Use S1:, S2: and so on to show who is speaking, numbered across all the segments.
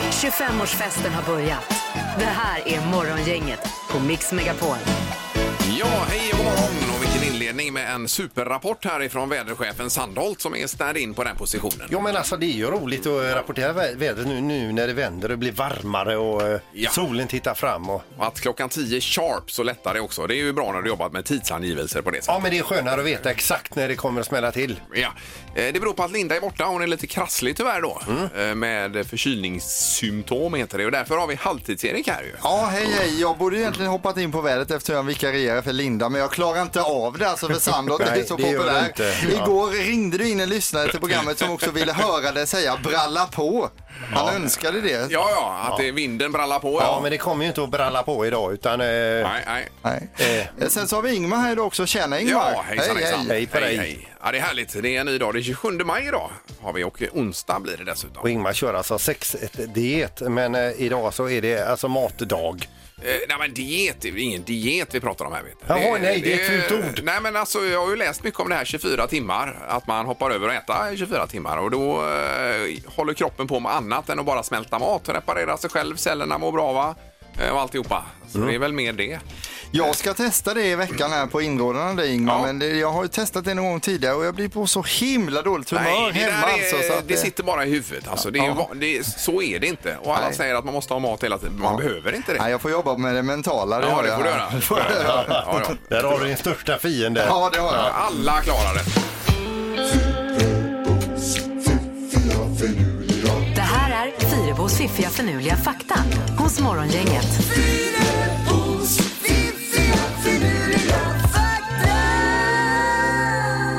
S1: 25-årsfesten har börjat. Det här är Morgongänget på Mix Megapol.
S2: Ja, hej och god morgon och vilken inledning med en superrapport härifrån väderchefen Sandholt som är stand in på den positionen.
S3: Ja men alltså det är ju roligt att rapportera vä- vädret nu, nu när det vänder och blir varmare och eh,
S2: Ja.
S3: solen tittar fram. Och...
S2: Och att klockan 10 sharp så lättar det också. Det är ju bra när du jobbat med tidsangivelser på det sättet.
S3: Ja men det är skönare att veta exakt när det kommer att smälla till.
S2: Ja. Eh, Det beror på att Linda är borta. Hon är lite krasslig tyvärr då.
S3: Mm.
S2: Eh, Med förkylningssymptom heter det. Och därför har vi halvtids-Erik här ju.
S4: Ja, hej, hej. Jag borde egentligen hoppat in på vädret eftersom jag vikarierar för Linda, men jag klarar inte av det alltså för Sandholt är
S3: Nej,
S4: så
S3: det gör
S4: populär.
S3: du inte. Ja.
S4: Igår ringde du in en lyssnare till programmet som också ville höra dig säga bralla på. Han önskade det.
S2: Ja, ja, att det vinden brallar på.
S3: Ja men det kommer ju inte att bralla på idag utan... eh,
S2: Nej, nej.
S4: Nej.
S3: Eh,
S4: Eh, Sen så har vi Ingmar här idag också. Tjena Ingmar!
S2: Ja, hejsan, hejsan.
S3: Hej på dig.
S2: Ja, det är härligt. Det är en ny dag. Det är 27 maj idag har vi och onsdag blir det
S3: Och
S2: dessutom.
S3: Ingmar kör alltså sexdiet men eh, idag så är det alltså matdag.
S2: Eh, nej, men diet, det är ingen diet vi pratar om här. Vet du.
S3: Jaha, nej, det är ett fult ord.
S2: Nej, men alltså jag har ju läst mycket om det här 24 timmar, att man hoppar över och äta i 24 timmar och då eh, håller kroppen på med annat än att bara smälta mat, reparera sig själv, cellerna mår bra va? Eh, och alltihopa. Så det är väl mer det.
S4: Jag ska testa det i veckan här på inrådan av dig Ingmar,
S2: Ja.
S4: men det, jag har ju testat det någon gång tidigare och jag blir på så himla dåligt humör
S2: det, där
S4: hemma alltså. Så
S2: är,
S4: att
S2: det sitter bara i huvudet. Alltså, det är, ju va- det är, så är det inte. Och alla
S4: Nej.
S2: säger att man måste ha mat hela tiden. Man behöver inte det.
S4: Nej, jag får jobba med det mentala.
S2: Ja,
S4: har
S2: det
S4: jag
S2: får du
S4: här.
S2: göra. Ja, ja, ja.
S3: Där har du din största fiende.
S4: Ja, det har jag.
S2: Alla klarar det.
S1: Det här är Fyrebos fiffiga förnuliga fakta hos Morgongänget.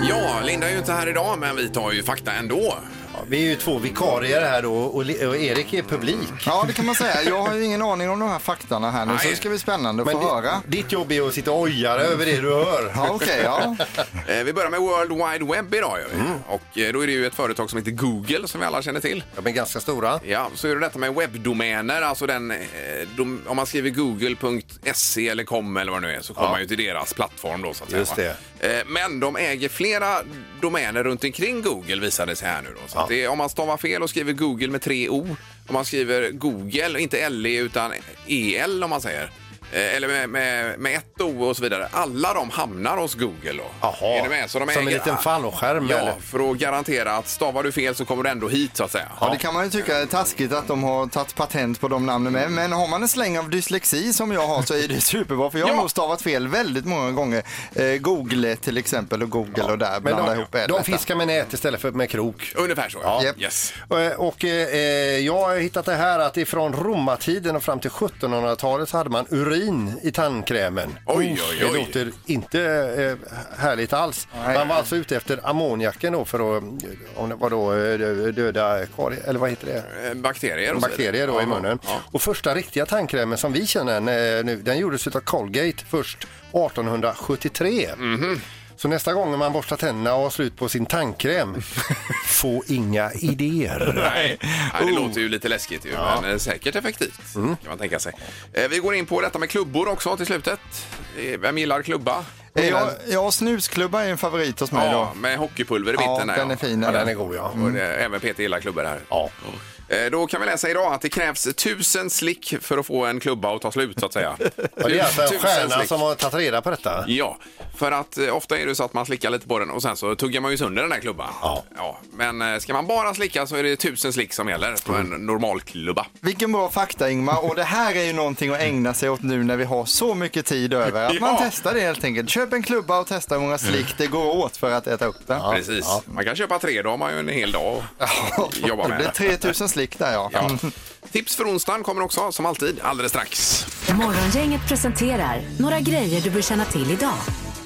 S2: Ja, Linda är ju inte här idag, men vi tar ju fakta ändå.
S3: Ja, Vi är ju två vikarier här då och, Li- och Erik är publik.
S4: Ja, det kan man säga. Jag har ju ingen aning om de här faktarna här nu, så
S2: Nej.
S4: det ska bli spännande att få
S3: di-
S4: höra.
S3: ditt jobb är att sitta och oja dig över det du hör.
S4: Ja, okej, ja.
S2: Eh, Vi börjar med World Wide Web idag. ju. Och eh, då är det ju ett företag som heter Google, som vi alla känner till.
S3: De är ganska stora.
S2: Ja, så är det detta med webbdomäner, alltså den, eh, dom, om man skriver google.se eller com eller vad det nu är så kommer man ju till deras plattform då så att
S3: Just
S2: säga. va? Eh, Men de äger flera domäner runt omkring Google visade sig här nu då. Så att det, är- om man stavar fel och skriver Google med tre O, om man skriver Google, inte LE utan EL om man säger, eh, eller med, med, med ett O och så vidare. Alla de hamnar hos Google då.
S3: Jaha.
S2: Är du med? Så de
S3: Som en
S2: äger-
S3: liten fallskärm,
S2: Ja,
S3: eller?
S2: för att garantera att stavar du fel så kommer du ändå hit så att säga.
S4: Ja, det kan man ju tycka är taskigt att de har tagit patent på de namnen med. Men har man en släng av dyslexi som jag har så är det superbra. För jag har
S2: Ja.
S4: nog stavat fel väldigt många gånger. Eh, Google till exempel och Google och där
S3: Men
S4: blanda
S3: de,
S4: ihop är
S3: de
S4: detta.
S3: fiskar med nät istället för med krok.
S2: Ungefär så.
S3: Ja.
S4: Japp.
S2: Yes.
S3: Eh, Och eh, eh, jag har hittat det här att ifrån romartiden och fram till 1700-talet så hade man urin i tandkrämen.
S2: Oj,
S3: Uff,
S2: oj,
S3: Det
S2: oj.
S3: låter inte eh, härligt alls.
S4: Nej.
S3: Man var alltså ute efter ammoniaken då för att, eh, om det var då eh, döda kvar, eller vad heter det?
S2: Eh, bakterier och så
S3: bakterier då
S2: vidare.
S3: i munnen.
S2: Ja.
S3: Och första riktiga tandkrämen som vi känner den, eh, nu, den gjordes av Colgate först 1873. Så nästa gång man borstar tänderna och har slut på sin tandkräm, få inga idéer.
S2: Nej, Oh. Nej, det låter ju lite läskigt ju, men eh, säkert effektivt
S3: Mm.
S2: kan man tänka sig. Eh, Vi går in på detta med klubbor också till slutet. Eh, Vem gillar klubba?
S4: Eh, Ja, ja, snusklubba är en favorit hos mig
S2: Ja,
S4: då.
S2: med hockeypulver i mitten.
S4: Ja,
S2: där,
S4: den är fin,
S3: Ja, den är god ja. Mm.
S2: Och det- Även Peter gillar klubbor här.
S3: Ja.
S2: Eh, Då kan vi läsa idag att det krävs tusen slick för att få en klubba att ta slut så att säga.
S3: Och det är alltså en
S2: Tusen
S3: stjärna
S2: slick.
S3: som har tagit reda på detta.
S2: Ja, för att eh, ofta är det så att man slickar lite på den och sen så tuggar man ju sönder den här klubban.
S3: Ja.
S2: Men eh, ska man bara slicka så är det tusen slick som gäller på en
S3: Mm.
S2: normal klubba.
S4: Vilken bra fakta Ingmar och det här är ju någonting att ägna sig åt nu när vi har så mycket tid över. Att man
S2: Ja.
S4: testar det helt enkelt. Köp en klubba och testa hur många slick det går åt för att äta upp den.
S2: Precis. Man kan köpa tre, då har man ju en hel dag att jobba
S4: Det blir
S2: med.
S4: 3000 slick där ja. Mm.
S2: Ja. Tips för onsdagen kommer också, som alltid, alldeles strax.
S1: Morgongänget presenterar några grejer du bör känna till idag.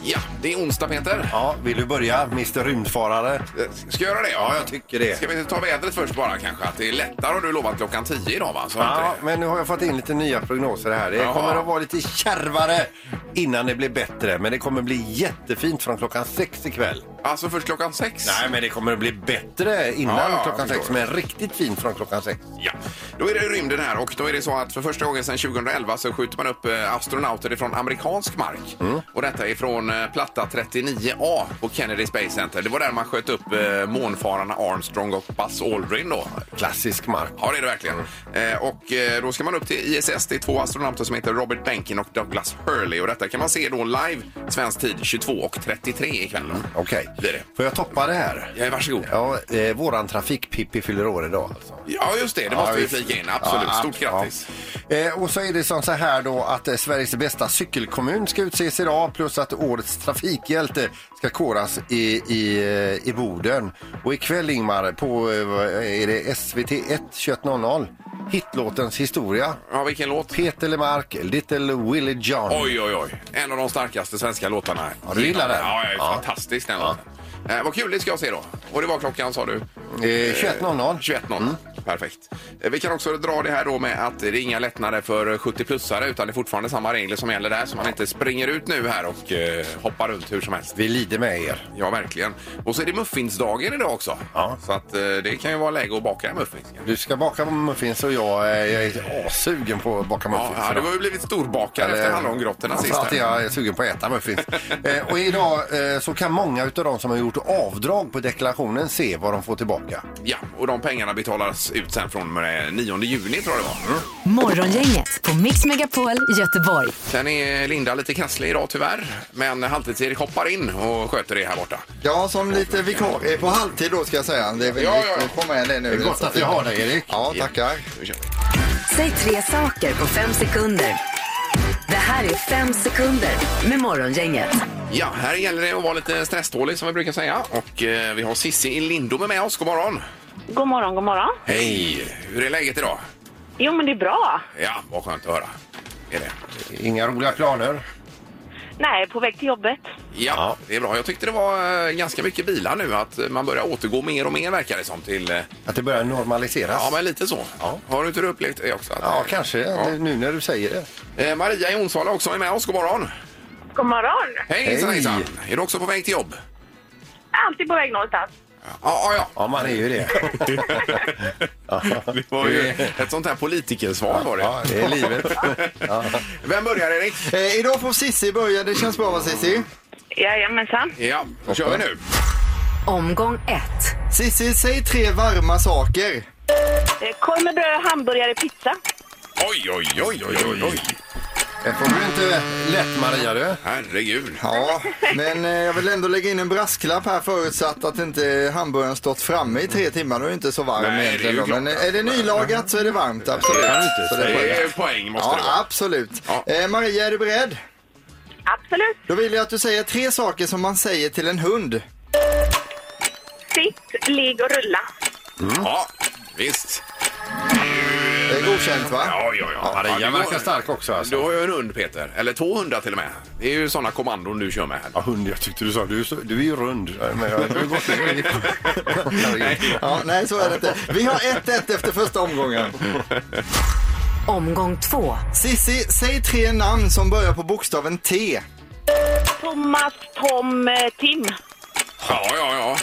S2: Ja, det är onsdag, Peter.
S3: Ja, vill du börja, Mr Rymdfarare?
S2: Eh, Ska jag göra det?
S3: Ja, jag tycker det.
S2: Ska vi ta vädret först bara kanske? Att det är lättare och du lovat klockan 10 idag, va? Så
S3: Ja,
S2: inte det-
S3: men nu har jag fått in lite nya prognoser här. Det
S2: Jaha.
S3: kommer att vara lite kärvare innan det blir bättre, men det kommer bli jättefint från klockan sex ikväll.
S2: Alltså först klockan sex?
S3: Nej, men det kommer att bli bättre innan
S2: Ja, jag
S3: klockan sex.
S2: förstår.
S3: Men riktigt fint från klockan sex.
S2: Ja, då är det rymden här och då är det så att för första gången sedan 2011 så skjuter man upp eh, astronauter ifrån amerikansk mark.
S3: Mm.
S2: Och detta är från eh, platta 39A på Kennedy Space Center. Det var där man sköt upp eh, månfararna Armstrong och Buzz Aldrin då.
S3: Klassisk mark.
S2: Ja, det är det verkligen.
S3: Mm.
S2: Eh, och eh, då ska man upp till ISS. Det är två astronauter som heter Robert Benkin och Douglas Hurley. Och detta kan man se då live svensk tid 22.33 ikväll. då.
S3: Okej,
S2: Blir det.
S3: får jag toppa det här?
S2: Ja, varsågod.
S3: Mm. Ja, eh, våran trafikpippi fyller år idag. Alltså.
S2: Ja, just det. Det måste vi
S3: visst.
S2: flika in. Absolut.
S3: Ja,
S2: Stort
S3: ja.
S2: grattis.
S3: Eh, och så är det som så här då att eh, Sveriges bästa cykelkommun ska utses idag plus att årets trafikhjälte ska koras i, i, eh, i Boden. Och ikväll Ingmar på eh, vad är det SVT 1 21.00 hitlåtens historia.
S2: Ja, vilken låt?
S3: Peter Lemark, Little Willie John.
S2: Oj, oj, oj. En av de starkaste svenska låtarna.
S3: Ja, du gillar den?
S2: Ja, ja,
S3: Ja.
S2: fantastisk den låten. Eh, vad kul det ska jag se då. Och det var klockan sa du?
S3: Eh, 21.00.
S2: 21.00.
S3: Mm.
S2: Perfekt. Eh, vi kan också dra det här då med att det är inga lättnader för 70-plussare utan det är fortfarande samma regler som gäller där så man inte springer ut nu här och eh, hoppar runt hur som helst.
S3: Vi lider med er.
S2: Ja, verkligen. Och så är det muffinsdagen idag också.
S3: Ja.
S2: Så att eh, det kan ju vara läge att baka en muffins. kanske.
S3: Du ska baka muffins och jag, eh, jag är assugen på att baka
S2: Ja,
S3: muffins.
S2: ja, du har ju blivit storbakare efter hallongrottorna sist.
S3: Framförallt är
S2: här.
S3: jag är sugen på att äta muffins. eh, och idag eh, så kan många utav de som har gjort avdrag på deklarationen se vad de får tillbaka.
S2: Ja, och de pengarna betalas ut sen från och med 9 juni tror jag det var.
S3: Mm.
S1: Morgongänget på Mix Megapol Göteborg.
S2: Sen är Linda lite krasslig idag tyvärr, men Halvtids-Erik hoppar in och sköter det här borta.
S4: Ja, som lite vikarie på halvtid då ska jag säga. Det är väl
S2: Ja, ja, ja.
S4: viktigt att få med det nu.
S3: Det är gott att vi har dig Erik.
S4: Ja, tackar.
S2: Nu kör vi.
S1: Säg tre saker på fem sekunder. Det här är fem sekunder med Morgongänget.
S2: Ja, här gäller det att vara lite stresstålig som vi brukar säga och eh, vi har Sissi i Lindome med oss. God morgon!
S5: God morgon, god morgon.
S2: Hej! Hur är läget idag?
S5: Jo, men det är bra.
S2: Ja, vad skönt att höra. Är det?
S3: Inga roliga planer.
S5: Nej, på väg till jobbet.
S2: Ja, det är bra. Jag tyckte det var eh, ganska mycket bilar nu, att man börjar återgå mer och mer verkar det som till... eh,
S3: Att det börjar normaliseras.
S2: Ja, men lite så.
S3: Ja.
S2: Har du inte upplevt det också? Att,
S3: Ja, kanske. Nu när du säger det.
S2: Eh, Maria i Onsala också är med oss. God morgon!
S5: God morgon.
S2: Hej, hejsan,
S3: Hej.
S2: hejsan! Är du också på väg till jobb?
S5: Alltid på väg någonstans.
S2: Ja, ja, ja.
S3: Ja, man är ju det.
S2: Det var ju ett sånt här politikersvar var det.
S3: Ja, det är livet. Ja.
S2: Vem börjar Erik?
S4: Eh, idag får Sissi börja. Det känns bra va Sissi?
S5: Jajamensan.
S2: Ja, då kör vi nu.
S1: Omgång ett.
S4: Sissi, säg tre varma saker.
S5: Eh, Korv med bröd, hamburgare, pizza.
S2: Oj, oj, oj, oj, oj, oj.
S3: Det får du inte lätt Maria du.
S2: Herregud.
S4: Ja, men eh, jag vill ändå lägga in en brasklapp här förutsatt att inte hamburgaren stått framme i tre timmar. Då är det inte så varm
S2: Nej, det är
S4: egentligen.
S2: ju
S4: då. Men
S2: klart.
S4: eh, är det nylagat så är det varmt, absolut. Så det är
S2: Det
S4: skönt.
S2: är poäng måste det
S4: Ja,
S2: vara.
S4: absolut.
S2: Ja.
S4: Eh, Maria, är du beredd?
S5: Absolut.
S4: Då vill jag att du säger tre saker som man säger till en hund.
S5: Sitt, ligg och rulla.
S2: Ja, visst.
S4: Det är godkänt va?
S2: Ja, ja, ja.
S3: Maria
S2: du har-
S3: verkar stark också
S2: Du
S3: alltså.
S2: har ju en hund Peter, eller två hundar till och med. Det är ju sådana kommandon du kör med här.
S3: Ja, hund, jag tyckte du sa. Du, är så- du är ju rund. Ja, Men jag, du går
S4: Ja, nej, så är det inte. Vi har 1-1 efter första omgången.
S1: Omgång två.
S4: Sissi, säg tre namn som börjar på bokstaven T.
S5: Thomas, Tom, eh, Tim.
S2: Ja, ja, ja.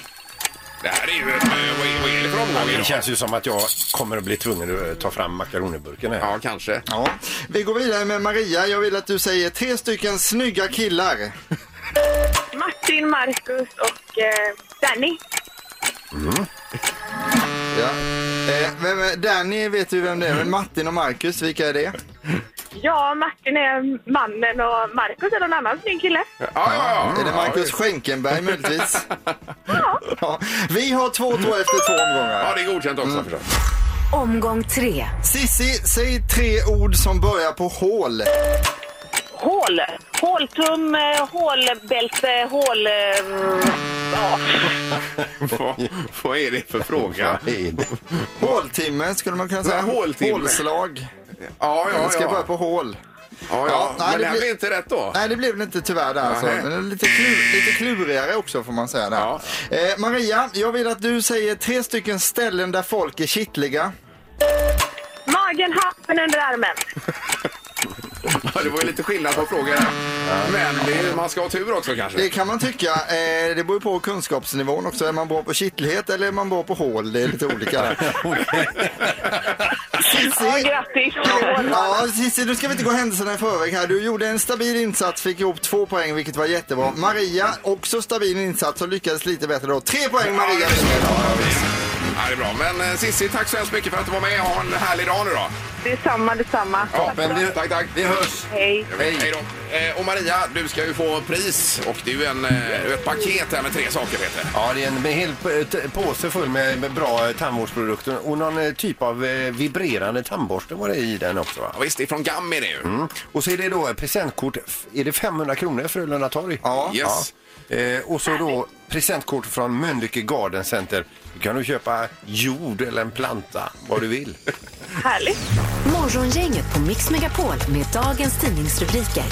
S2: Det här är ju... en- eh, Vad är, vad är det för omgång
S3: Det
S2: idag?
S3: känns ju som att jag kommer att bli tvungen att eh, ta fram makaroniburken här.
S2: Ja, kanske.
S4: Ja. Vi går vidare med Maria. Jag vill att du säger tre stycken snygga killar.
S5: Martin, Marcus och eh, Danny.
S4: Ja. Eh, vem, är- Danny vet du vem det är, men Martin och Marcus, vilka är det?
S5: Ja, Martin är mannen och Marcus är någon annan snygg kille.
S2: Ja, ja, ja.
S4: Är det Marcus Schenkenberg möjligtvis?
S5: Ja.
S4: Ja. Vi har 2-2 efter två
S2: Ja,
S4: omgångar.
S2: det är godkänt också förstås.
S1: Omgång tre.
S4: Sissi, säg tre ord som börjar på hål.
S5: Hål. Håltum, eh, hålbälte, hål... eh, Ja.
S2: Vad, vad är det för fråga?
S4: Håltimme skulle man kunna säga.
S2: Nej, håltimme.
S4: Hålslag.
S2: Ja, ja,
S4: Det ska börja
S2: ja.
S4: på hål.
S2: Ja, ja.
S4: Ja, nej,
S2: Men
S4: det
S2: det här
S4: blir-
S2: blir inte rätt då.
S4: Nej, det blev det inte tyvärr där alltså.
S2: Nej.
S4: Men det är lite, klur, lite klurigare också får man säga där.
S2: Ja.
S4: Eh, Maria, jag vill att du säger tre stycken ställen där folk är kittliga.
S5: Magen, hatten under armen.
S2: det var ju lite skillnad på frågorna. Men det är, ju- man ska ha tur också
S4: Det
S2: kanske.
S4: kan man tycka. Eh, det beror ju på kunskapsnivån också. Är man bra på kittlighet eller är man bra på hål? Det är lite olika. där.
S5: Ja,
S4: Cissi!
S5: grattis!
S4: Ja, Cissi, nu ska vi inte gå händelserna i förväg här. Du gjorde en stabil insats, fick ihop två poäng, vilket var jättebra. Maria, också stabil insats och lyckades lite bättre då. Tre poäng Maria!
S2: Ja, det är bra. Men eh, Cissi, tack så hemskt mycket för att du var med. Ha en härlig dag nu då.
S5: Detsamma, detsamma.
S2: Ja,
S3: men det-
S2: Tack, tack.
S3: Vi hörs!
S5: Hej!
S2: Hej. då. Eh, och Maria, du ska ju få pris och det är ju en, eh, ett paket här med tre saker Peter.
S3: Ja, det är en hel p- t- påse full med med bra eh, tandvårdsprodukter och någon eh, typ av eh, vibrerande tandborste var det i den också. Va?
S2: Ja, visst, det är från Gammi det ju.
S4: Mm.
S3: Och så är det då ett presentkort, f- är det 500 kronor Frölunda torg?
S4: Ja.
S2: Yes.
S3: Eh, och så då presentkort från Mölnlycke Garden Center. Du kan du köpa jord eller en planta, vad du vill.
S5: Härligt!
S1: Morgongänget på Mix Megapol med dagens tidningsrubriker.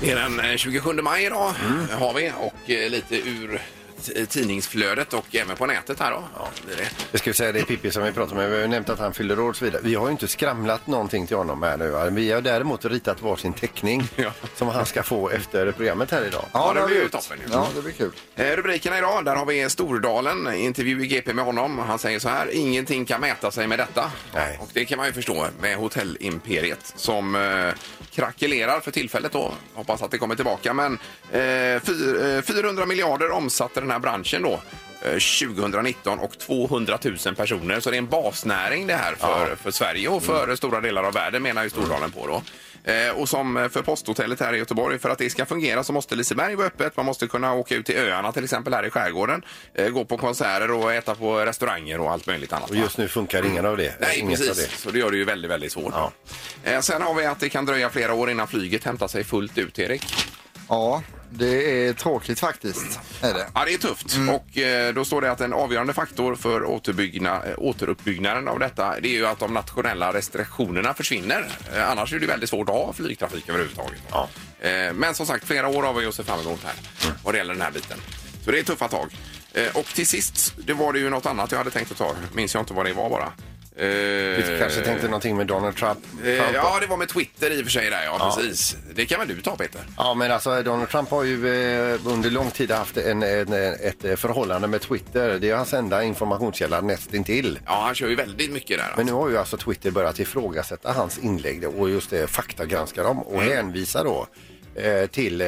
S2: Det är den eh, 27 maj idag
S4: Mm.
S2: eh, har vi och eh, lite ur t- tidningsflödet och även på nätet här då. Ja, det är det.
S3: Jag ska säga det är Pippi som vi pratade med. Vi har ju nämnt att han fyller år och så vidare. Vi har ju inte skramlat någonting till honom här nu. va? Vi har däremot ritat varsin teckning
S2: Ja.
S3: som han ska få efter programmet här idag.
S2: Ja, det
S4: har vi
S2: blir ju
S4: gjort.
S2: toppen ju.
S4: Ja, det blir kul.
S2: Eh, Rubrikerna idag, där har vi Stordalen, intervju i GP med honom. Han säger så här, ingenting kan mäta sig med detta.
S3: Nej.
S2: Och det kan man ju förstå med hotellimperiet som eh, krackelerar för tillfället då. Hoppas att det kommer tillbaka. Men eh, fy- eh, 400 miljarder omsatte den här branschen då. eh, 2019 och 200 000 personer. Så det är en basnäring det här för, för Sverige och för
S3: Mm.
S2: stora delar av världen menar ju Stordalen på då. Eh, och som för posthotellet här i Göteborg, för att det ska fungera så måste Liseberg vara öppet. Man måste kunna åka ut till öarna till exempel här i skärgården. Eh, gå på konserter och äta på restauranger och allt möjligt annat.
S3: Och just nu funkar ingen av det.
S2: Nej,
S3: Inget
S2: precis.
S3: av det.
S2: Så det gör det ju väldigt, väldigt svårt.
S3: Ja.
S2: Eh, sen har vi att det kan dröja flera år innan flyget hämtar sig fullt ut, Erik.
S4: Ja, det är tråkigt faktiskt. Är det.
S2: Ja, det är tufft. Och eh, då står det att en avgörande faktor för återbygna, eh, återuppbyggnaden av detta det är ju att de nationella restriktionerna försvinner. Eh, annars är det väldigt svårt att ha flygtrafik överhuvudtaget.
S3: Ja.
S2: Eh, men som sagt, flera år har vi att se fram emot här vad det gäller den här biten. Så det är tuffa tag. Eh, och till sist, det var det ju något annat jag hade tänkt att ta. Minns jag inte vad det var bara. Eh,
S3: Vi kanske tänkte någonting med Donald Trump.
S2: Eh,
S3: Trump
S2: ja, det var med Twitter i och för sig. Där, ja, precis. Det kan väl du ta, Peter?
S3: Ja, men alltså Donald Trump har ju eh, under lång tid haft en, en, ett eh, förhållande med Twitter. Det är hans enda informationskälla nästintill.
S2: Ja, han kör ju väldigt mycket där.
S3: Men nu har ju alltså Twitter börjat ifrågasätta hans inlägg och just det, faktagranska dem och
S2: Mm.
S3: hänvisa då eh, till eh,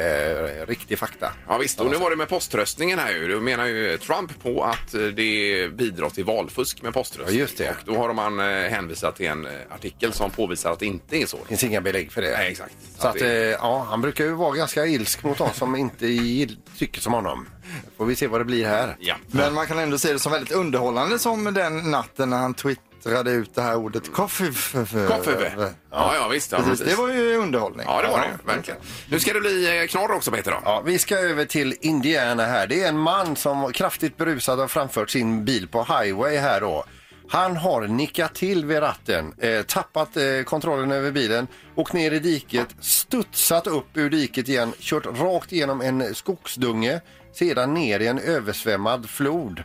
S3: riktig fakta.
S2: Ja, visst, och nu var det med poströstningen här ju. Då menar ju Trump på att eh, det bidrar till valfusk med poströstning.
S3: Ja, just det.
S2: Och då har man eh, hänvisat till en eh, artikel som påvisar att det inte är så.
S3: Det finns inga belägg för det.
S2: Nej, exakt.
S3: Så att, eh, ja, han brukar ju vara ganska ilsk mot de som inte gill- tycker som honom. Får vi se vad det blir här.
S2: Ja.
S4: Men man kan ändå se det som väldigt underhållande som den natten när han twittrade ut det här ordet coffee.
S3: eh,
S2: Koffeve. Ja, ja, visst. Ja,
S4: Precis,
S2: precis.
S4: det var ju underhållning.
S2: Ja, det var det. Verkligen. Nu ska det bli eh, knorr också, Peter. Då.
S3: Ja, vi ska över till Indiana här. Det är en man som var kraftigt berusad har framfört sin bil på highway här då. Han har nickat till vid ratten, eh, tappat eh, kontrollen över bilen, åkt ner i diket, studsat upp ur diket igen, kört rakt igenom en skogsdunge, sedan ner i en översvämmad flod.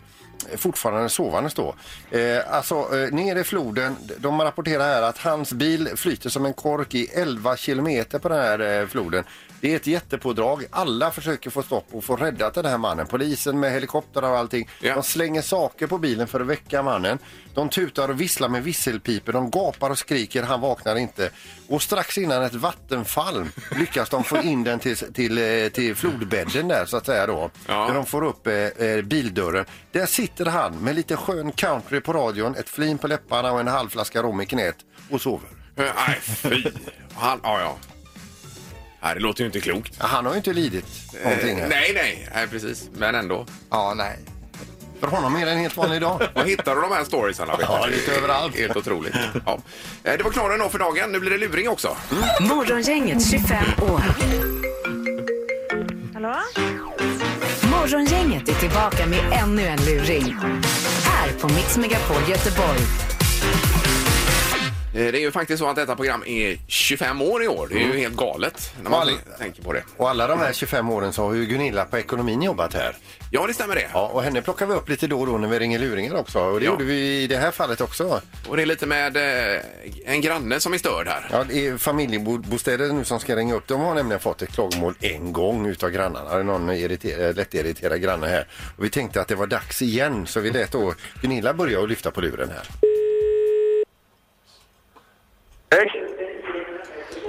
S3: Eh, Fortfarande sovandes då. Eh, alltså eh, ner i floden. De rapporterar här att hans bil flyter som en kork i 11 kilometer på den här eh, floden. Det är ett jättepådrag. Alla försöker få stopp och få räddat den här mannen. Polisen med helikoptrar och allting.
S2: Ja.
S3: De slänger saker på bilen för att väcka mannen. De tutar och visslar med visselpipor. De gapar och skriker. Han vaknar inte. Och strax innan ett vattenfall lyckas de få in den till, till, eh, till flodbädden där så att säga då.
S2: Ja.
S3: Där de får upp eh, eh, bildörren. Där sitter han med lite skön country på radion, ett flin på läpparna och en halv flaska rom i knät och sover.
S2: Eh, Nej, fy. Han, ja, ja. Nej, det låter ju inte klokt.
S3: Ja, Han har ju inte lidit någonting här.
S2: Eh, Nej, nej, nej, precis. Men ändå.
S4: Ja, nej.
S3: För honom är det en helt vanlig dag.
S2: Var hittar du de här storiesarna? Peter?
S3: Ja, lite överallt.
S2: Helt otroligt. Ja. Eh, Det var knorren då för dagen. Nu blir det luring också.
S1: Morgongänget 25 år.
S5: Hallå?
S1: Morgongänget är tillbaka med ännu en luring. Här på Mix Megapol Göteborg.
S2: Eh, Det är ju faktiskt så att detta program är 25 år i år. Det är
S3: Mm.
S2: ju helt galet när man
S6: All-
S2: tänker på det.
S6: Och alla de här 25 åren så har ju Gunilla på ekonomin jobbat här.
S2: Ja, det stämmer det.
S6: Ja, och henne plockar vi upp lite då och då när vi ringer luringen också. Och det
S2: Ja.
S6: gjorde vi i det här fallet också.
S2: Och det är lite med eh, en granne som är störd här.
S6: Ja, det är familjebostäder nu som ska ringa upp. De har nämligen fått ett klagomål en gång utav grannarna. Det är någon irriter- lättirriterad granne här. Och vi tänkte att det var dags igen så vi lät då Gunilla börja och lyfta på luren här.
S7: Hej!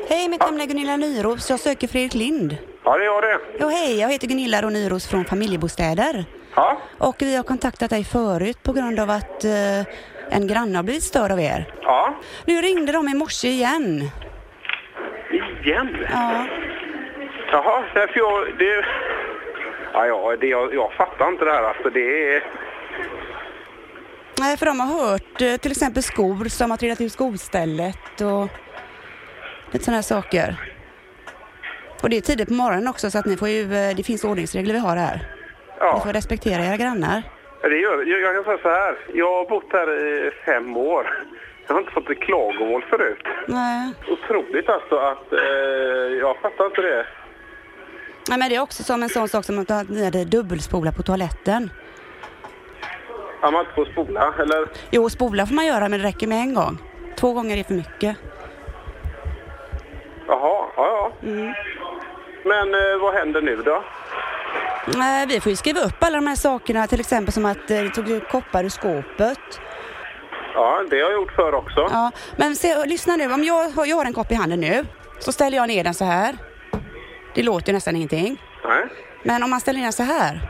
S8: Hej, mitt namn är Gunilla Nyros. Jag söker Fredrik Lind.
S7: Ja, det är jag det.
S8: Jo, hej, jag heter Gunilla och Nyros från Familjebostäder.
S7: Ja,
S8: Och vi har kontaktat dig förut på grund av att eh, en granne har blivit störd av er.
S7: ja.
S8: Nu ringde de i morse igen.
S7: Igen?
S8: Ja,
S7: Jaha, därför jag... Det... Ja, ja det, jag, jag fattar inte det här alltså. Det är...
S8: Nej, för de har hört eh, till exempel skor som har trillat ur skostället och lite sådana här saker. Och det är tidigt på morgonen också så att ni får ju, eh, det finns ordningsregler vi har här. Ni
S7: Ja,
S8: får respektera era grannar.
S7: det gör jag, jag kan säga så här. Jag har bott här i fem år. Jag har inte fått ett klagomål förut.
S8: Nej.
S7: Otroligt alltså att... Eh, jag fattar inte det.
S8: Nej men det är också som en sån sak som att ni hade dubbelspola på toaletten.
S7: Att man inte får spola, eller?
S8: Jo, spola får man göra men det räcker med en gång. Två gånger är för mycket.
S7: Jaha, ja, ja.
S8: Mm.
S7: Men eh, vad händer nu då?
S8: Nej, Eh, vi får ju skriva upp alla de här sakerna, till exempel som att eh, det tog ut koppar ur skåpet.
S7: Ja, det har jag gjort förr också.
S8: Ja, men se, lyssna nu, om jag, har- jag har en kopp i handen nu så ställer jag ner den så här. Det låter ju nästan ingenting.
S7: Nej.
S8: Men om man ställer ner den så här,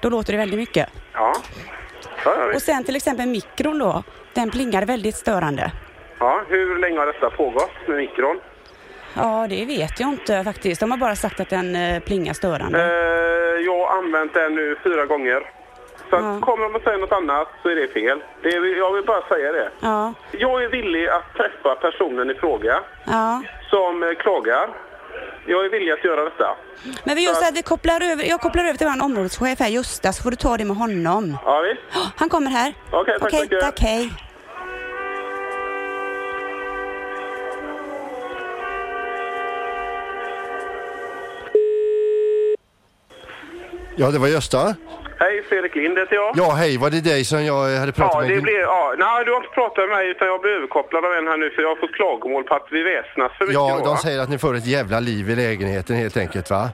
S8: då låter det väldigt mycket.
S7: Ja. Ja, ja,
S8: Och
S7: visst.
S8: sen till exempel mikron då, den plingar väldigt störande.
S7: ja, hur länge har detta pågått med mikron?
S8: Ja, det vet jag inte faktiskt. De har bara sagt att den eh, plingar störande.
S7: Eh, jag har använt den nu fyra gånger. Så att
S8: Ja.
S7: kommer de att säga något annat så är det fel. Det är, jag vill bara säga det.
S8: Ja,
S7: Jag är villig att träffa personen i fråga
S8: ja.
S7: som eh, klagar. Jag är villig att göra detta.
S8: Men vi gör så här, vi kopplar över, jag kopplar över till vår områdeschef här, Gösta, så får du ta det med honom.
S7: Ja, visst?
S8: Åh, Han kommer här.
S7: Okej, tack så
S8: Okej,
S7: mycket.
S8: tack, hej.
S3: Ja, det var Gösta.
S7: Hej, Fredrik Lind heter jag.
S3: Ja, hej, var det dig som jag eh, hade pratat
S7: Ja,
S3: med?
S7: det blir, ja, nej, du har inte pratat med mig utan jag blir överkopplad av en här nu för jag har fått klagomål på att vi väsnas för mycket.
S3: Ja,
S7: då,
S3: de
S7: va?
S3: säger att ni får ett jävla liv i lägenheten helt enkelt va?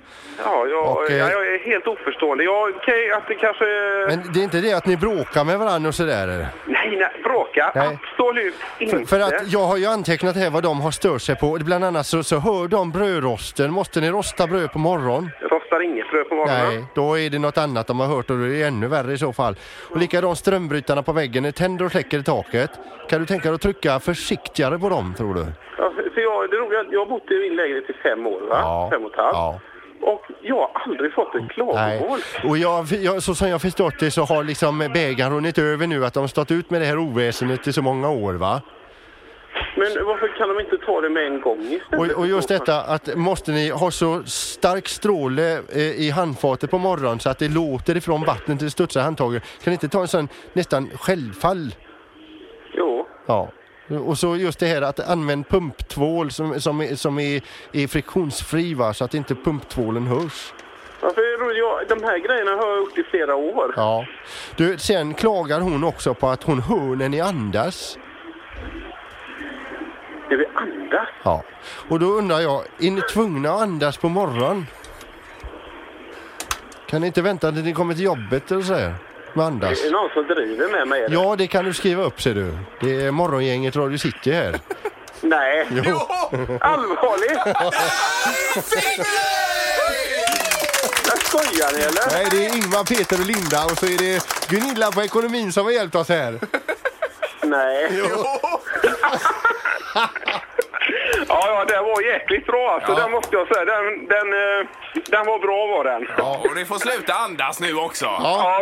S7: ja, jag,
S3: Och, eh,
S7: ja, jag är helt oförstående. Ja, okej att det kanske...
S3: Men det är inte det att ni bråkar med varandra och sådär? eller?
S7: Nej, nej, bråka.
S3: Nej.
S7: Absolut inte.
S3: För, för att jag har ju antecknat här vad de har stört sig på. Bland annat så, så hör de brödrosten. Måste ni rosta bröd på morgonen?
S7: Jag rostar inget bröd på morgonen.
S3: Nej, då är det något annat de har hört och det är ännu värre i så fall. Och likadant strömbrytarna på väggen, det tänder och släcker i taket. Kan du tänka dig att trycka försiktigare på dem tror du?
S7: Ja, för jag, det roliga, är att jag har bott i min lägenhet i fem år, va?
S3: Ja.
S7: Fem och ett halvt.
S3: Ja.
S7: Och jag har aldrig fått ett klagomål.
S3: Nej. Och jag, jag, så som jag förstått det så har liksom bägaren runnit över nu att de har stått ut med det här oväsendet i så många år va?
S7: Men varför kan de inte ta det med en gång istället?
S3: Och, och just detta att måste ni ha så stark stråle eh, i handfatet på morgonen så att det låter ifrån vattnet till studsar i handtaget. Kan ni inte ta en sån nästan självfall?
S7: Jo.
S3: Ja. Eh, Och så just det här att använd pumptvål som, som, är- som är, är friktionsfri va? så att inte pumptvålen hörs.
S7: Varför är det roligt? jag, de här grejerna har jag gjort i flera år.
S3: Ja. Du, sen klagar hon också på att hon hör när ni andas.
S7: Det vill andas.
S3: Ja. Och då undrar jag, är ni tvungna att andas på morgonen? Kan ni inte vänta tills ni kommer till jobbet eller så här? Med andas?
S7: Det är någon som driver med mig. eller?
S3: Ja, det kan du skriva upp ser du. Det är morgongänget Radio City här.
S7: Nej.
S3: Jo.
S7: Allvarligt? Jag skojar ni eller?
S3: Nej, det är Ingvar, Peter och Linda och så är det Gunilla på ekonomin som har hjälpt oss här.
S7: Nej. ja, ja, den var jäkligt bra alltså.
S2: Ja.
S7: Den måste jag säga. Den, den, eh, den var bra var den. Ja,
S2: Och ni får sluta andas nu också.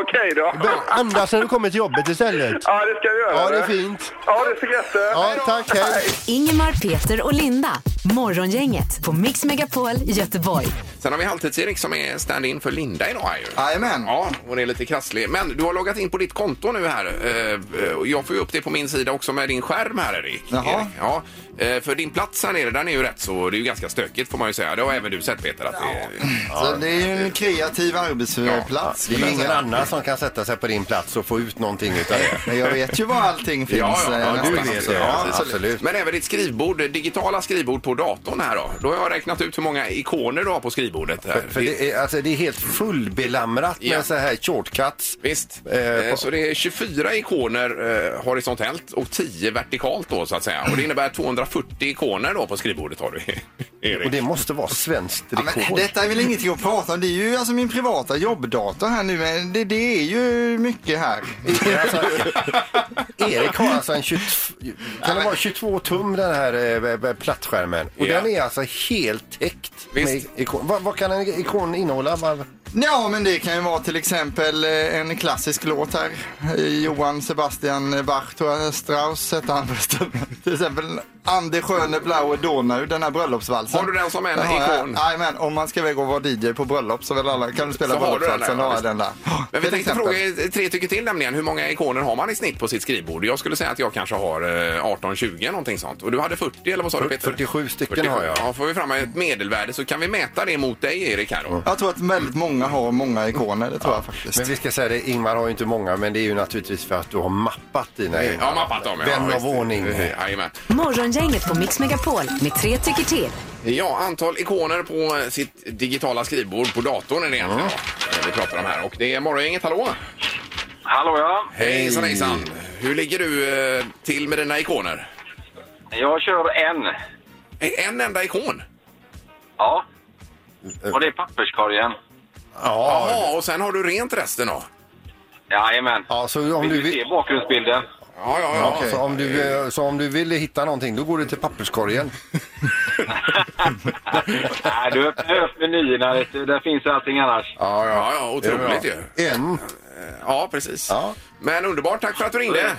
S7: okej då.
S3: Andas när du kommer till jobbet istället.
S7: Ja, det ska vi göra.
S3: Ja, det är
S7: du.
S3: fint.
S7: Ja, det är så gött. du.
S3: Ja, tack. Hej.
S1: Ingemar, Peter och Linda. Morgongänget på Mix Megapol Göteborg.
S2: Sen har vi Halvtids-Erik som är stand-in för Linda idag. Här ju.
S4: Jajamän.
S2: Ja, och det är lite krasslig. Men du har loggat in på ditt konto nu här. Eh, eh, och Jag får ju upp det på min sida också med din skärm här, Erik.
S4: Jaha.
S2: Erik. Ja, eh, för din plats här nere, den är ju rätt så... Det är ju ganska stökigt får man ju säga. Det har även du sett Peter. Att det,
S4: Så det är ju en kreativ arbetsplats.
S3: Det är ju ingen
S4: Men-
S3: annan som kan sätta sig på din plats och få ut någonting utav det.
S4: Men jag vet ju var allting finns.
S2: Ja, ja,
S4: eh,
S2: ja,
S4: nästan.
S2: du vet det.
S4: Ja,
S2: Precis.
S3: absolut.
S2: Men även ditt skrivbord, digitala skrivbord på datorn här då. Då har jag räknat ut hur många ikoner du har på skrivbordet. Här.
S3: För det är, alltså, det är helt fullbelamrat
S2: Ja.
S3: med så här shortcuts.
S2: Visst.
S3: Eh,
S2: Eh, så det är 24 ikoner eh, horisontellt och 10 vertikalt då så att säga. Och det innebär 240 ikoner då på skrivbordet har du. Erik.
S3: Och det måste vara svenskt
S4: Ja,
S3: rekord.
S4: men detta är väl ingenting att prata om. Det är ju alltså min privata jobbdator här nu. Men det, det är ju mycket här.
S3: Alltså, Erik har alltså en 22, kan det vara 22 tum den här eh, eh, plattskärmen. Och
S2: Ja.
S3: den är alltså helt täckt
S2: Visst.
S3: med ikon. Vad, vad kan en ikon innehålla? Vad-
S4: Ja, men det kan ju vara till exempel eh, en klassisk låt här. Eh, Johann Sebastian Bach, tror jag, Strauss hette han förresten. Till exempel Ande sköne blaue Donau, den här bröllopsvalsen.
S2: Har du den som en
S4: har jag.
S2: ikon?
S4: Jajamän, om man ska väl gå och vara DJ på bröllop så väl alla kan du spela
S2: Så har du den
S4: bröllopsvalsen.
S2: där, ja,
S4: Har jag den där.
S2: Men vi
S4: Till
S2: tänkte
S4: exempel.
S2: fråga er tre tycker till nämligen. Hur många ikoner har man i snitt på sitt skrivbord? Jag skulle säga att jag kanske har eh, 18-20 någonting sånt. Och du hade 40 eller vad sa du Peter?
S3: 47 stycken har jag.
S2: Ja, får vi fram ett medelvärde så kan vi mäta det mot dig Erik här då.
S4: Jag tror att väldigt många har många ikoner, det tror jag faktiskt.
S3: Men vi ska säga det, Ingmar har ju inte många men det är ju naturligtvis för att du har mappat dina egna.
S2: Ja, mappat dem. ja,
S3: Vän
S2: visst.
S3: av ordning.
S2: Eh, Jajamän.
S1: Morgongänget på Mix Megapol med tre tycker till.
S2: Ja, antal ikoner på eh, sitt digitala skrivbord på datorn är det egentligen
S4: Mm.
S2: då, eh, vi pratar om här. Och det är Morgongänget, hallå!
S7: Hallå ja.
S2: Hejsan hejsan! Hur ligger du eh, till med dina ikoner?
S7: Jag kör en.
S2: Eh, En enda ikon?
S7: Ja. Och det är papperskorgen.
S3: Ja,
S2: Ja, och sen har du rent resten då?
S7: Jajamän.
S3: ja, så om
S7: Vill
S3: du
S7: du
S3: vill...
S7: se bakgrundsbilden?
S2: Ja, ja, ja.
S3: Så om, du, eh, så om du vill hitta någonting, då går du till papperskorgen.
S7: Nej, du öppnar upp menyerna. vet du. Där finns allting annars.
S2: Ja, ja, ja, otroligt
S3: Det
S2: ju.
S3: är bra. En.
S2: Ja, precis.
S3: Ja.
S2: Men underbart, tack för att du ringde.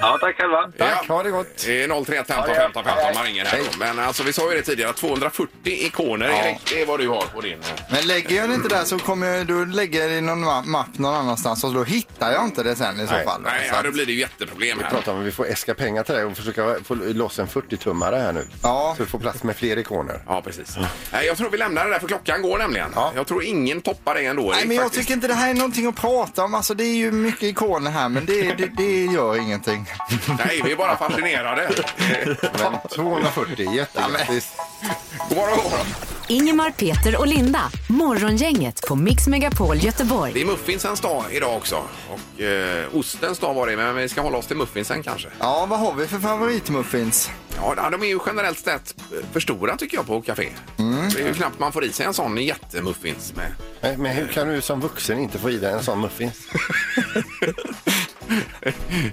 S7: Ja, tack själva.
S3: Tack,
S2: Ja.
S3: ha det gott.
S2: Det är 031 15 15 15 man ringer här då. Men alltså vi sa ju det tidigare, 240 ikoner Erik, det är vad du har på din. eh,
S4: Men lägger jag det inte där så kommer jag, då lägger jag det i någon ma- mapp någon annanstans och då hittar jag inte det sen i så
S3: Nej.
S4: fall.
S2: Nej,
S4: Så
S2: ja,
S4: att-
S2: då blir det ju jätteproblem här.
S3: Prata om vi får äska pengar till det och försöka få loss en 40-tummare här nu.
S4: Ja.
S3: Så vi får plats med fler ikoner.
S2: Ja, precis. Nej, jag tror vi lämnar det där för klockan går nämligen.
S3: Ja.
S2: Jag tror ingen toppar det ändå.
S4: Nej,
S2: Erik,
S4: men jag
S2: faktiskt.
S4: tycker inte det här är någonting att prata om. Alltså, det är ju mycket ikoner här, men det, det, det gör ingenting.
S2: Nej, vi är bara fascinerade.
S3: Men 240, jättegrattis.
S2: God morgon, god morgon.
S1: Ingemar, Peter och Linda. Morgongänget på Mix Megapol Göteborg.
S2: Det är muffinsens dag idag också. Och eh, ostens dag var det, men vi ska hålla oss till muffinsen kanske.
S4: Ja, vad har vi för favoritmuffins?
S2: Ja, de är ju generellt sett eh, för stora tycker jag på café.
S3: Mm.
S2: Det är ju knappt man får i sig en sån jättemuffins med.
S3: Men, men hur kan du som vuxen inte få i dig en sån muffins?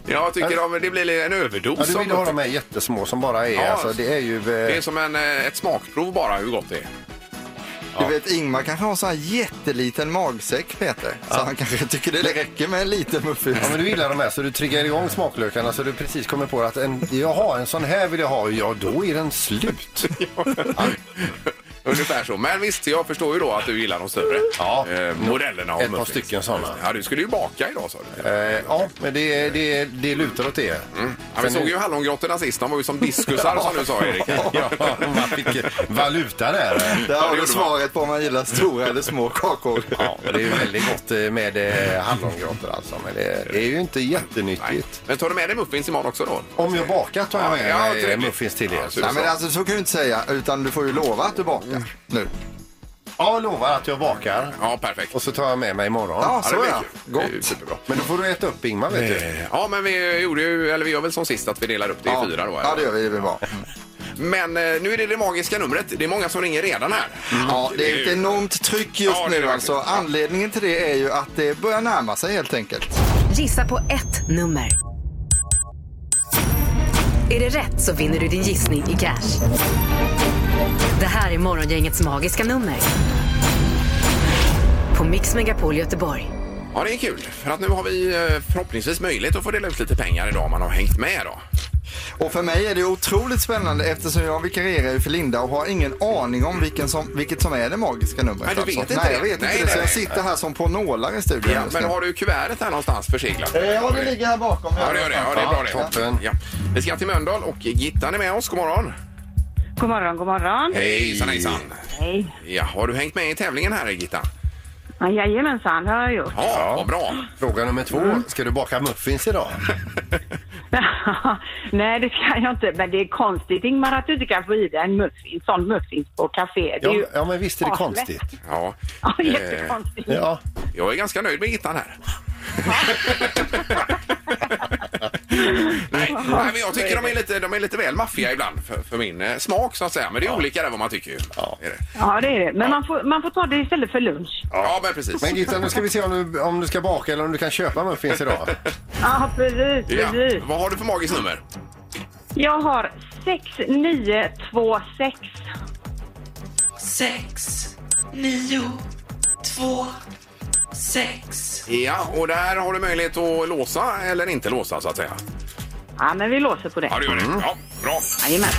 S2: Jag tycker de, det blir en överdos.
S3: Ja, du
S2: av
S3: vill ju ha
S2: muffins.
S3: de här jättesmå som bara är.
S2: Ja.
S3: Alltså, det är ju... eh,
S2: Det är som en, eh, ett smakprov bara hur gott det är.
S4: Du vet, Ingmar kanske har så här jätteliten magsäck, Peter. Så han kanske tycker det räcker med en liten muffins.
S3: Ja, men du gillar de här så du triggar igång smaklökarna så du precis kommer på att en, jaha, en sån här vill jag ha. Ja, då är den slut.
S2: Ungefär så. Men visst, jag förstår ju då att du gillar de större
S3: Ja.
S2: eh, modellerna av
S3: Ett par
S2: muffins.
S3: stycken såna.
S2: Ja, du skulle ju baka idag sa du.
S3: Eh, ja, men det, det, det lutar åt det.
S2: Mm. Ja, vi såg ju hallongrottorna sist. De var ju som diskusar som du sa Erik.
S3: Ja, man fick valuta där.
S4: Där har
S2: det
S4: du
S2: gjorde
S4: svaret på om man gillar stora eller små kakor.
S3: Ja, det är ju väldigt gott eh, med eh, hallongrottor alltså. Men det, det är ju inte
S2: Nej.
S3: jättenyttigt.
S2: Men tar du med dig muffins imorgon också då?
S3: Om jag bakat tar jag med
S2: Ja,
S3: mig eh,
S2: trevligt.
S3: muffins till
S2: Ja,
S3: er.
S2: super.
S4: Nej, men alltså, så kan du inte säga, utan du får ju lova att du
S2: Mm.
S4: bakar nu.
S3: Ja, lovar att jag bakar.
S2: Ja, perfekt.
S3: Och så tar jag med mig imorgon.
S4: Ja,
S2: det
S4: så
S2: blir
S4: ja.
S2: kul. Det är ju
S4: Gott.
S2: Superbra.
S3: Men då får du äta upp Ingmar vet du.
S2: Eh, Ja, men vi gjorde ju, eller vi gör väl som sist att vi delar upp det i
S4: Ja.
S2: fyra då. eller? Mm.
S4: Ja, det gör vi. Det blir bra.
S2: Men eh, nu är det det magiska numret. Det är många som ringer redan här.
S4: Mm. Ja, det är ett enormt tryck just
S2: Ja, det är
S4: nu
S2: det
S4: alltså.
S2: verkligen.
S4: Anledningen till det är ju att det börjar närma sig helt enkelt.
S1: Gissa på ett nummer. Är det rätt så vinner du din gissning i cash. Det här är Morgongängets magiska nummer. På Mix Megapol Göteborg.
S2: Ja, det är kul. För att nu har vi eh, förhoppningsvis möjlighet att få dela ut lite pengar idag om man har hängt med då.
S4: Och för mig är det otroligt spännande eftersom jag vikarierar ju för Linda och har ingen aning om vilken som, vilket som är det magiska numret. alltså.
S2: Nej, du vet inte
S4: Nej,
S2: det.
S4: jag vet inte
S2: Nej,
S4: det.
S2: nej,
S4: så jag
S2: nej.
S4: sitter här som på nålar i studion
S2: Ja,
S4: just
S2: men
S4: nu.
S2: har du kuvertet här någonstans förseglat?
S4: Eh, Ja, det ligger här bakom.
S2: Ja, det gör det. Ja, det är bra det.
S3: Toppen.
S2: Ja. Vi ska till Mölndal och Gittan är med oss. God morgon.
S5: God morgon, god morgon.
S2: Hejsan, hejsan.
S5: Hej.
S2: Ja, har du hängt med i tävlingen här, Gittan?
S5: Ja, jajamensan, det har jag gjort.
S2: Ja, vad bra.
S3: Fråga nummer två.
S2: Mm.
S3: Ska du baka muffins idag?
S5: Nej, det ska jag inte. Men det är konstigt, Ingmar, att du inte kan få i dig en muffins, sån muffins på café. Det är
S3: Ja,
S5: ju...
S3: ja men visst är det
S5: Ja,
S3: konstigt.
S2: Ja.
S5: Ja,
S2: Eh,
S5: jättekonstigt.
S3: Ja,
S2: Jag är ganska nöjd med Gittan här. nej, nej, men jag tycker de är lite, de är lite väl maffiga ibland för, för min eh, smak så att säga. Men det är olika där vad man tycker. Ja, är det.
S5: Ja, det är det. Men man, får, man får ta det istället för lunch.
S2: ja men precis.
S3: men Gitta nu ska vi se om du, om du ska baka eller om du kan köpa muffins idag.
S5: Ja, precis,
S2: Ja.
S5: precis.
S2: Vad har du för magiskt nummer?
S5: Jag har 6926.
S2: Ja, och där har du möjlighet att låsa eller inte låsa så att säga. Mm.
S5: Ja, men vi låser på det.
S2: Ja, det gör det. Ja, bra.
S5: Jajamän.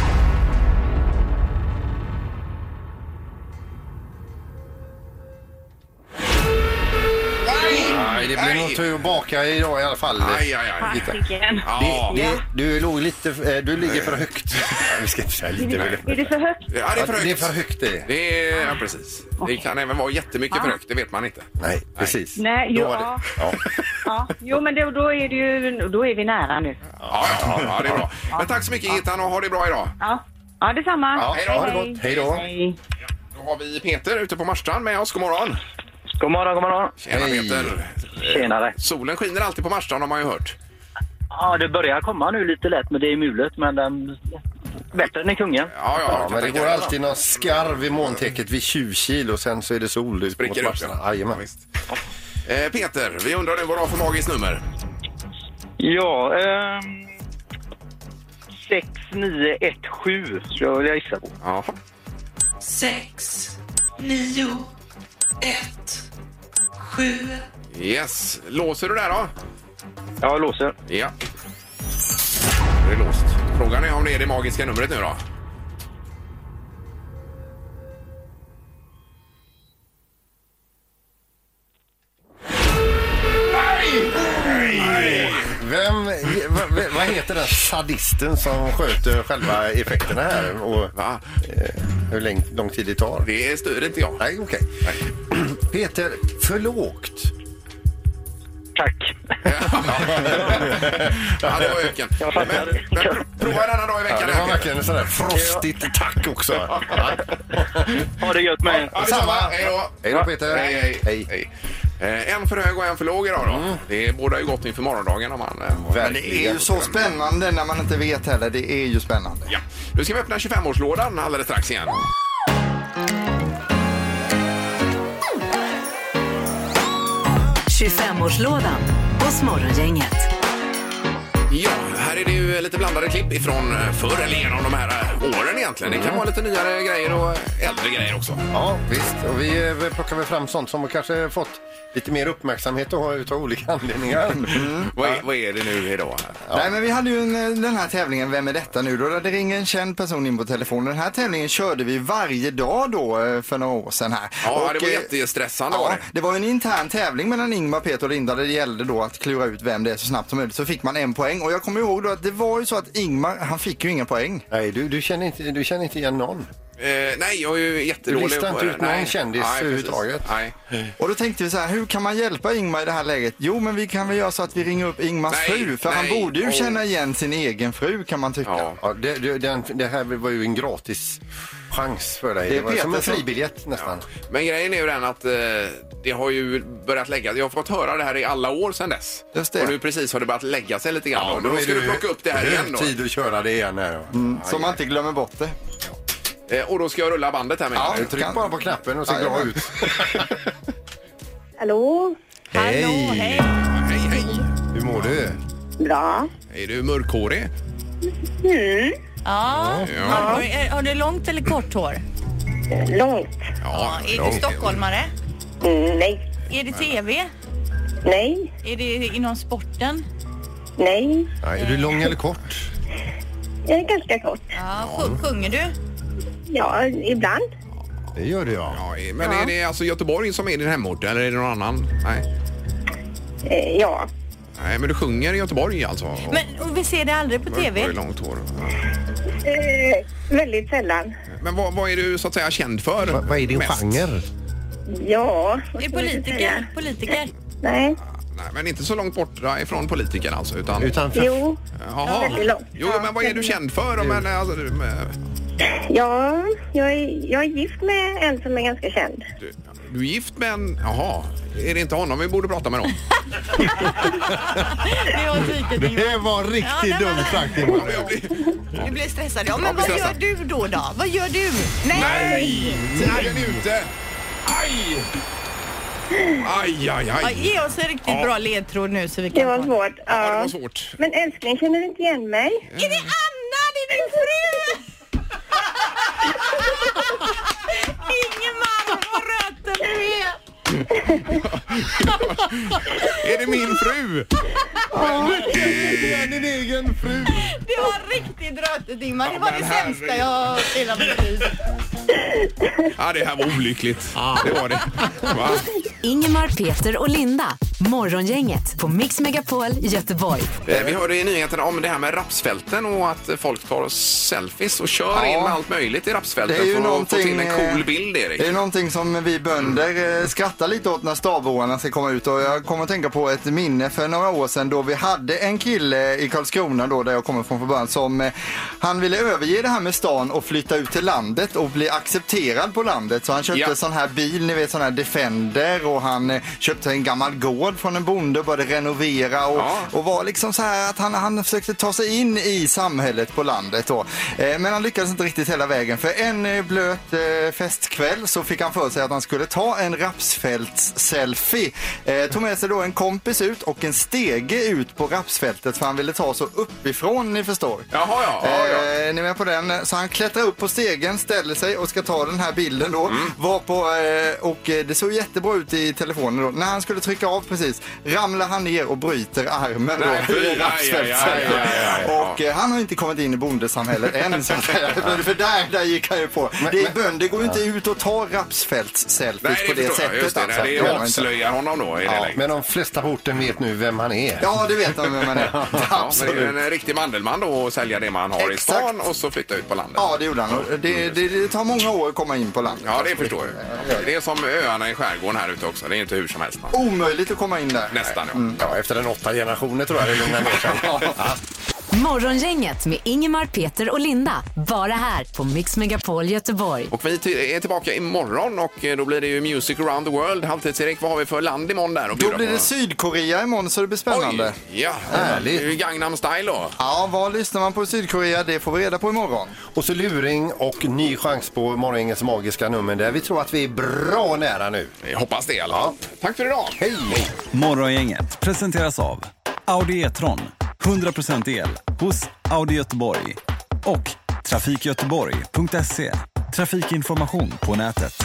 S3: Nej, det blir
S2: Nej.
S3: nog tur att baka idag i alla fall.
S2: Aj, aj, aj.
S3: Gitta.
S5: Fasiken.
S2: Ja.
S3: Det, det, du, låg lite, eh, du ligger för högt. Vi ska inte säga lite. men-
S5: Är det för högt?
S2: Ja, det är för
S3: Ja,
S2: högt.
S3: Det är för högt det.
S2: Det är, ja, precis. Det kan även vara jättemycket för högt, det vet man inte.
S3: Nej, precis.
S5: Nej,
S3: Då
S5: jo,
S3: var det-
S5: ja.
S3: ja.
S5: Ja, jo men då, då, är det ju, då är vi nära nu.
S2: Ja, ja, ja det är bra. Men tack så mycket Gittan och ha det bra idag.
S5: Ja, ja detsamma.
S3: Ja,
S2: hej då.
S3: ha det gott. Hej då.
S5: Hej.
S2: Då har vi Peter ute på Marstrand med oss. God morgon!
S9: God morgon, god morgon.
S2: Tjena
S3: Hej.
S2: Peter!
S9: Tjenare.
S2: Solen skiner alltid på Marstrand har man ju hört.
S9: Ja, det börjar komma nu lite lätt, men det är mulet. Men den... Bättre än i kungen.
S2: Ja, ja,
S3: Ja, men det går alltid någon skarv i molntäcket vid 20 kilo och sen så är det sol. Det
S2: Spricker upp. ja. Ja,
S3: Jajamän.
S2: visst. Eh, Peter, vi undrar nu vad du har för magiskt nummer.
S9: Ja, ehm... 6917 skulle jag vilja gissa på.
S2: Jaha. Yes. Låser du där då?
S9: Jag låser.
S2: Ja. Det är låst. Frågan är om det är det magiska numret nu då?
S3: Vem, va- va- vad heter den sadisten som sköter själva effekterna här och eh,
S2: Va?
S3: hur lång, lång tid det tar?
S2: Det styr inte jag.
S3: Nej, okej. Peter, för lågt.
S9: Tack.
S2: Ja, det var öken.
S9: Jag
S2: Men,
S9: fattar.
S2: men prova en annan dag i
S3: Ja,
S2: veckan.
S3: det var verkligen en sån där frostigt tack också. Ja.
S9: Ha det gött med er.
S2: Ja, detsamma. Hej då.
S3: Hej då, Peter.
S2: Hej, hej, hej. Eh, En för hög och en för låg idag då. Det båda ju gott inför morgondagen om man... eh, har-
S3: Verkligen.
S4: Men det är ju så spännande när man inte vet heller. Det är ju spännande.
S2: Ja. Nu ska vi öppna 25-årslådan alldeles strax igen.
S1: Morgongänget. 25-årslådan hos Morgongänget.
S2: Ja, här är det ju lite blandade klipp ifrån eh, förr eller genom de här eh, åren egentligen. Det kan vara lite nyare grejer och eh, äldre grejer också.
S3: Ja, visst. Och vi eh, plockar väl fram sånt som kanske fått lite mer uppmärksamhet och har utav olika anledningar.
S2: Vad, är, vad är det nu idag? här?
S4: Nej, men vi hade ju en, eh, den här tävlingen Vem är detta nu då? Där det ringer en känd person in på telefonen. Den här tävlingen körde vi varje dag då eh, för några år sedan här.
S2: Ja, det var
S4: eh,
S2: jättestressande var
S4: Ja,
S2: det.
S4: det var ju en intern tävling mellan Ingmar, Peter och Linda där det gällde då att klura ut vem det är så snabbt som möjligt. Så fick man en poäng och jag kommer ihåg då att det var ju så att Ingmar, han fick ju inga poäng.
S3: Nej, du, du, känner inte, du känner inte igen någon.
S2: Eh, nej, jag är ju jättedålig
S3: Du listar
S2: på
S3: inte
S2: det.
S3: ut någon
S2: Nej.
S3: kändis
S2: Nej, precis.
S3: överhuvudtaget.
S2: Nej.
S4: Och då tänkte vi så här, hur kan man hjälpa Ingmar i det här läget? Jo, men vi kan väl göra så att vi ringer upp Ingmars
S2: Nej,
S4: fru, för han
S2: nej,
S4: borde ju
S2: åh.
S4: känna igen sin egen fru kan man tycka.
S2: Ja.
S3: Ja, det, det, den, det här var ju en gratis chans för dig.
S4: Det
S3: Det,
S4: är
S3: var som en
S4: Peter som-
S3: fribiljett nästan.
S2: Men grejen är ju den att eh, det har ju börjat lägga Jag har fått höra det här i alla år sedan dess.
S4: Just det.
S2: Och nu precis har det börjat lägga sig lite grann. och då, ska
S3: är
S2: du
S3: det
S2: plocka upp det här
S3: hög
S2: igen då.
S3: tid att köra det igen. Här.
S4: Så man inte glömmer bort det.
S2: Eh, och då ska jag rulla bandet här med
S4: Ja.
S2: dig.
S3: Tryck
S4: Kan-
S3: bara på knappen och se
S4: Ja,
S3: glad
S4: ja.
S3: ut.
S5: Hallå?
S3: Hej!
S2: Hej, hej!
S3: Hur mår du?
S5: Bra.
S2: Är du mörkhårig?
S10: Ja.
S2: Ja.
S10: Har, du- är- har du långt eller kort hår?
S5: Långt?
S10: Ja, är du stockholmare?
S5: Mm, nej.
S10: Är det tv?
S5: Nej.
S10: Är det inom sporten?
S5: Nej.
S3: Nej, är du lång eller kort?
S11: Jag är ganska kort.
S10: Ja, sjung- sjunger du?
S11: Ja, ibland.
S2: Det gör det ja. men är det alltså Göteborg som är din hemort eller är det någon annan? Nej.
S11: Eh, ja.
S2: Nej, men du sjunger i Göteborg alltså? Och-
S10: Men och vi ser det aldrig på
S2: och- och
S10: tv.
S2: i långt hår.
S11: Eh, väldigt sällan.
S2: Men vad, vad är du så att säga känd för? vad är din mest? genre?
S11: Ja.
S10: Är politiker? Politiker?
S11: Nej.
S2: Nej, men inte så långt bort ifrån politiken alltså? Utan...
S11: för- Jo. Ja,
S2: Jaha.
S11: väldigt långt.
S2: Jo, men vad är du känd för? då? Men, alltså, du, men-
S11: Ja, jag är, jag är gift med en som är ganska känd.
S2: du är gift med en... Jaha. Är det inte honom vi borde prata med då?
S10: Det
S12: var
S10: Ja,
S12: riktigt
S10: det var-
S12: dumt sagt Ingmar.
S10: Du blir stressad. Ja,
S12: Jag
S10: men
S12: blir
S10: vad gör
S12: stressad.
S10: du då? då? Vad gör du?
S2: Nej! Tiden är ute! Aj! Aj, aj,
S10: Ja,
S2: aj.
S10: ge oss en riktigt
S2: Ja.
S10: bra ledtråd nu så vi kan
S11: Det var
S10: få-
S11: svårt. Ja,
S2: det var svårt.
S11: Men älskling, känner du inte igen mig?
S10: Är det Anna, det är min fru! Ingemar, vad röten du är!
S2: Är det min fru?
S12: Din egen fru.
S10: Det var riktigt rötet Ingmar. Det var det sämsta jag har hört i hela mitt liv.
S2: Ja, det här var olyckligt. Det var det. Va?
S1: Ingemar, Peter och Linda. Morgongänget på Mix Megapol Göteborg.
S2: Eh, Vi hörde i nyheterna om det här med rapsfälten och att folk tar selfies och kör
S4: Ja.
S2: in med allt möjligt i rapsfälten
S4: Det är ju
S2: för att få till
S4: någonting,
S2: en
S4: eh,
S2: cool bild, Erik.
S4: Det är någonting som vi bönder eh, skrattar lite åt när stavåarna ska komma ut och jag kommer att tänka på ett minne för några år sedan då vi hade en kille i Karlskrona då där jag kommer från från början som eh, han ville överge det här med stan och flytta ut till landet och bli accepterad på landet så han köpte
S13: Ja.
S4: sån här bil, ni vet sån här Defender och han eh, köpte en gammal gård från en bonde och började renovera och,
S13: Ja.
S4: och var liksom så här att han, han försökte ta sig in i samhället på landet då. Eh, men han lyckades inte riktigt hela vägen för en eh, blöt eh, festkväll så fick han för sig att han skulle ta en rapsfälts-selfie. Eh, tog med sig då en kompis ut och en stege ut på rapsfältet för han ville ta så uppifrån ni förstår.
S2: Jaha, ja. ja, ja.
S4: Eh, ni är med på den? Så han klättrar upp på stegen, ställer sig och ska ta den här bilden då.
S2: Mm.
S4: Var på, eh, och eh, det såg jättebra ut i telefonen då. När han skulle trycka av precis ramlar han ner och bryter armen
S2: Nej,
S4: då.
S2: fy,
S4: i
S2: aj,
S4: rapsfältet.
S2: aj, aj, aj, aj.
S4: Och eh, han har inte kommit in i bondesamhället än så att säga. För- För där, där gick han ju på.
S2: Men-
S4: det är,
S2: men-
S4: bönder går ju inte ut och tar rapsfälts-selfies på det
S2: förstår jag.
S4: sättet.
S2: Just det,
S4: alltså.
S2: det
S4: gör man inte.
S2: avslöjar honom då i det läget.
S3: Men de flesta på orten vet nu vem han är.
S4: Ja, det vet de vem han är.
S2: Ja, men det är ju en riktig mandelman då och sälja det man har i stan och så flytta ut på landet.
S4: Ja, det gjorde han. Och Det, det, det tar många år att komma in på landet.
S2: Ja, det förstår jag. Det är som öarna i skärgården här ute också. Det är inte hur som helst.
S4: Oh.
S2: Man.
S4: Omöjligt att komma in där.
S2: Nästan,
S4: Mm.
S2: ja.
S3: Ja, efter den åtta generationen tror jag det lugnar ner sig. Ja.
S1: Morgongänget med Ingemar, Peter och Linda. Bara här på Mix Megapol Göteborg.
S2: Och vi ty- är tillbaka imorgon och eh, då blir det ju Music around the world. Halvtids-Erik, vad har vi för land imorgon där? att
S4: Då
S2: bjuda
S4: blir
S2: på?
S4: det Sydkorea imorgon så det blir spännande.
S2: Ja,
S4: Härligt.
S2: det är ju Gangnam style då.
S4: Ja, vad lyssnar man på i Sydkorea? Det får vi reda på imorgon.
S3: Och så luring och ny chans på morgongängets magiska nummer där vi tror att vi är bra nära nu.
S2: Jag hoppas det i alla fall. Tack för idag. Hej!
S14: Morgongänget presenteras av Audi E-tron. 100% el hos Audi Göteborg. Och trafikgöteborg.se. Trafikinformation på nätet.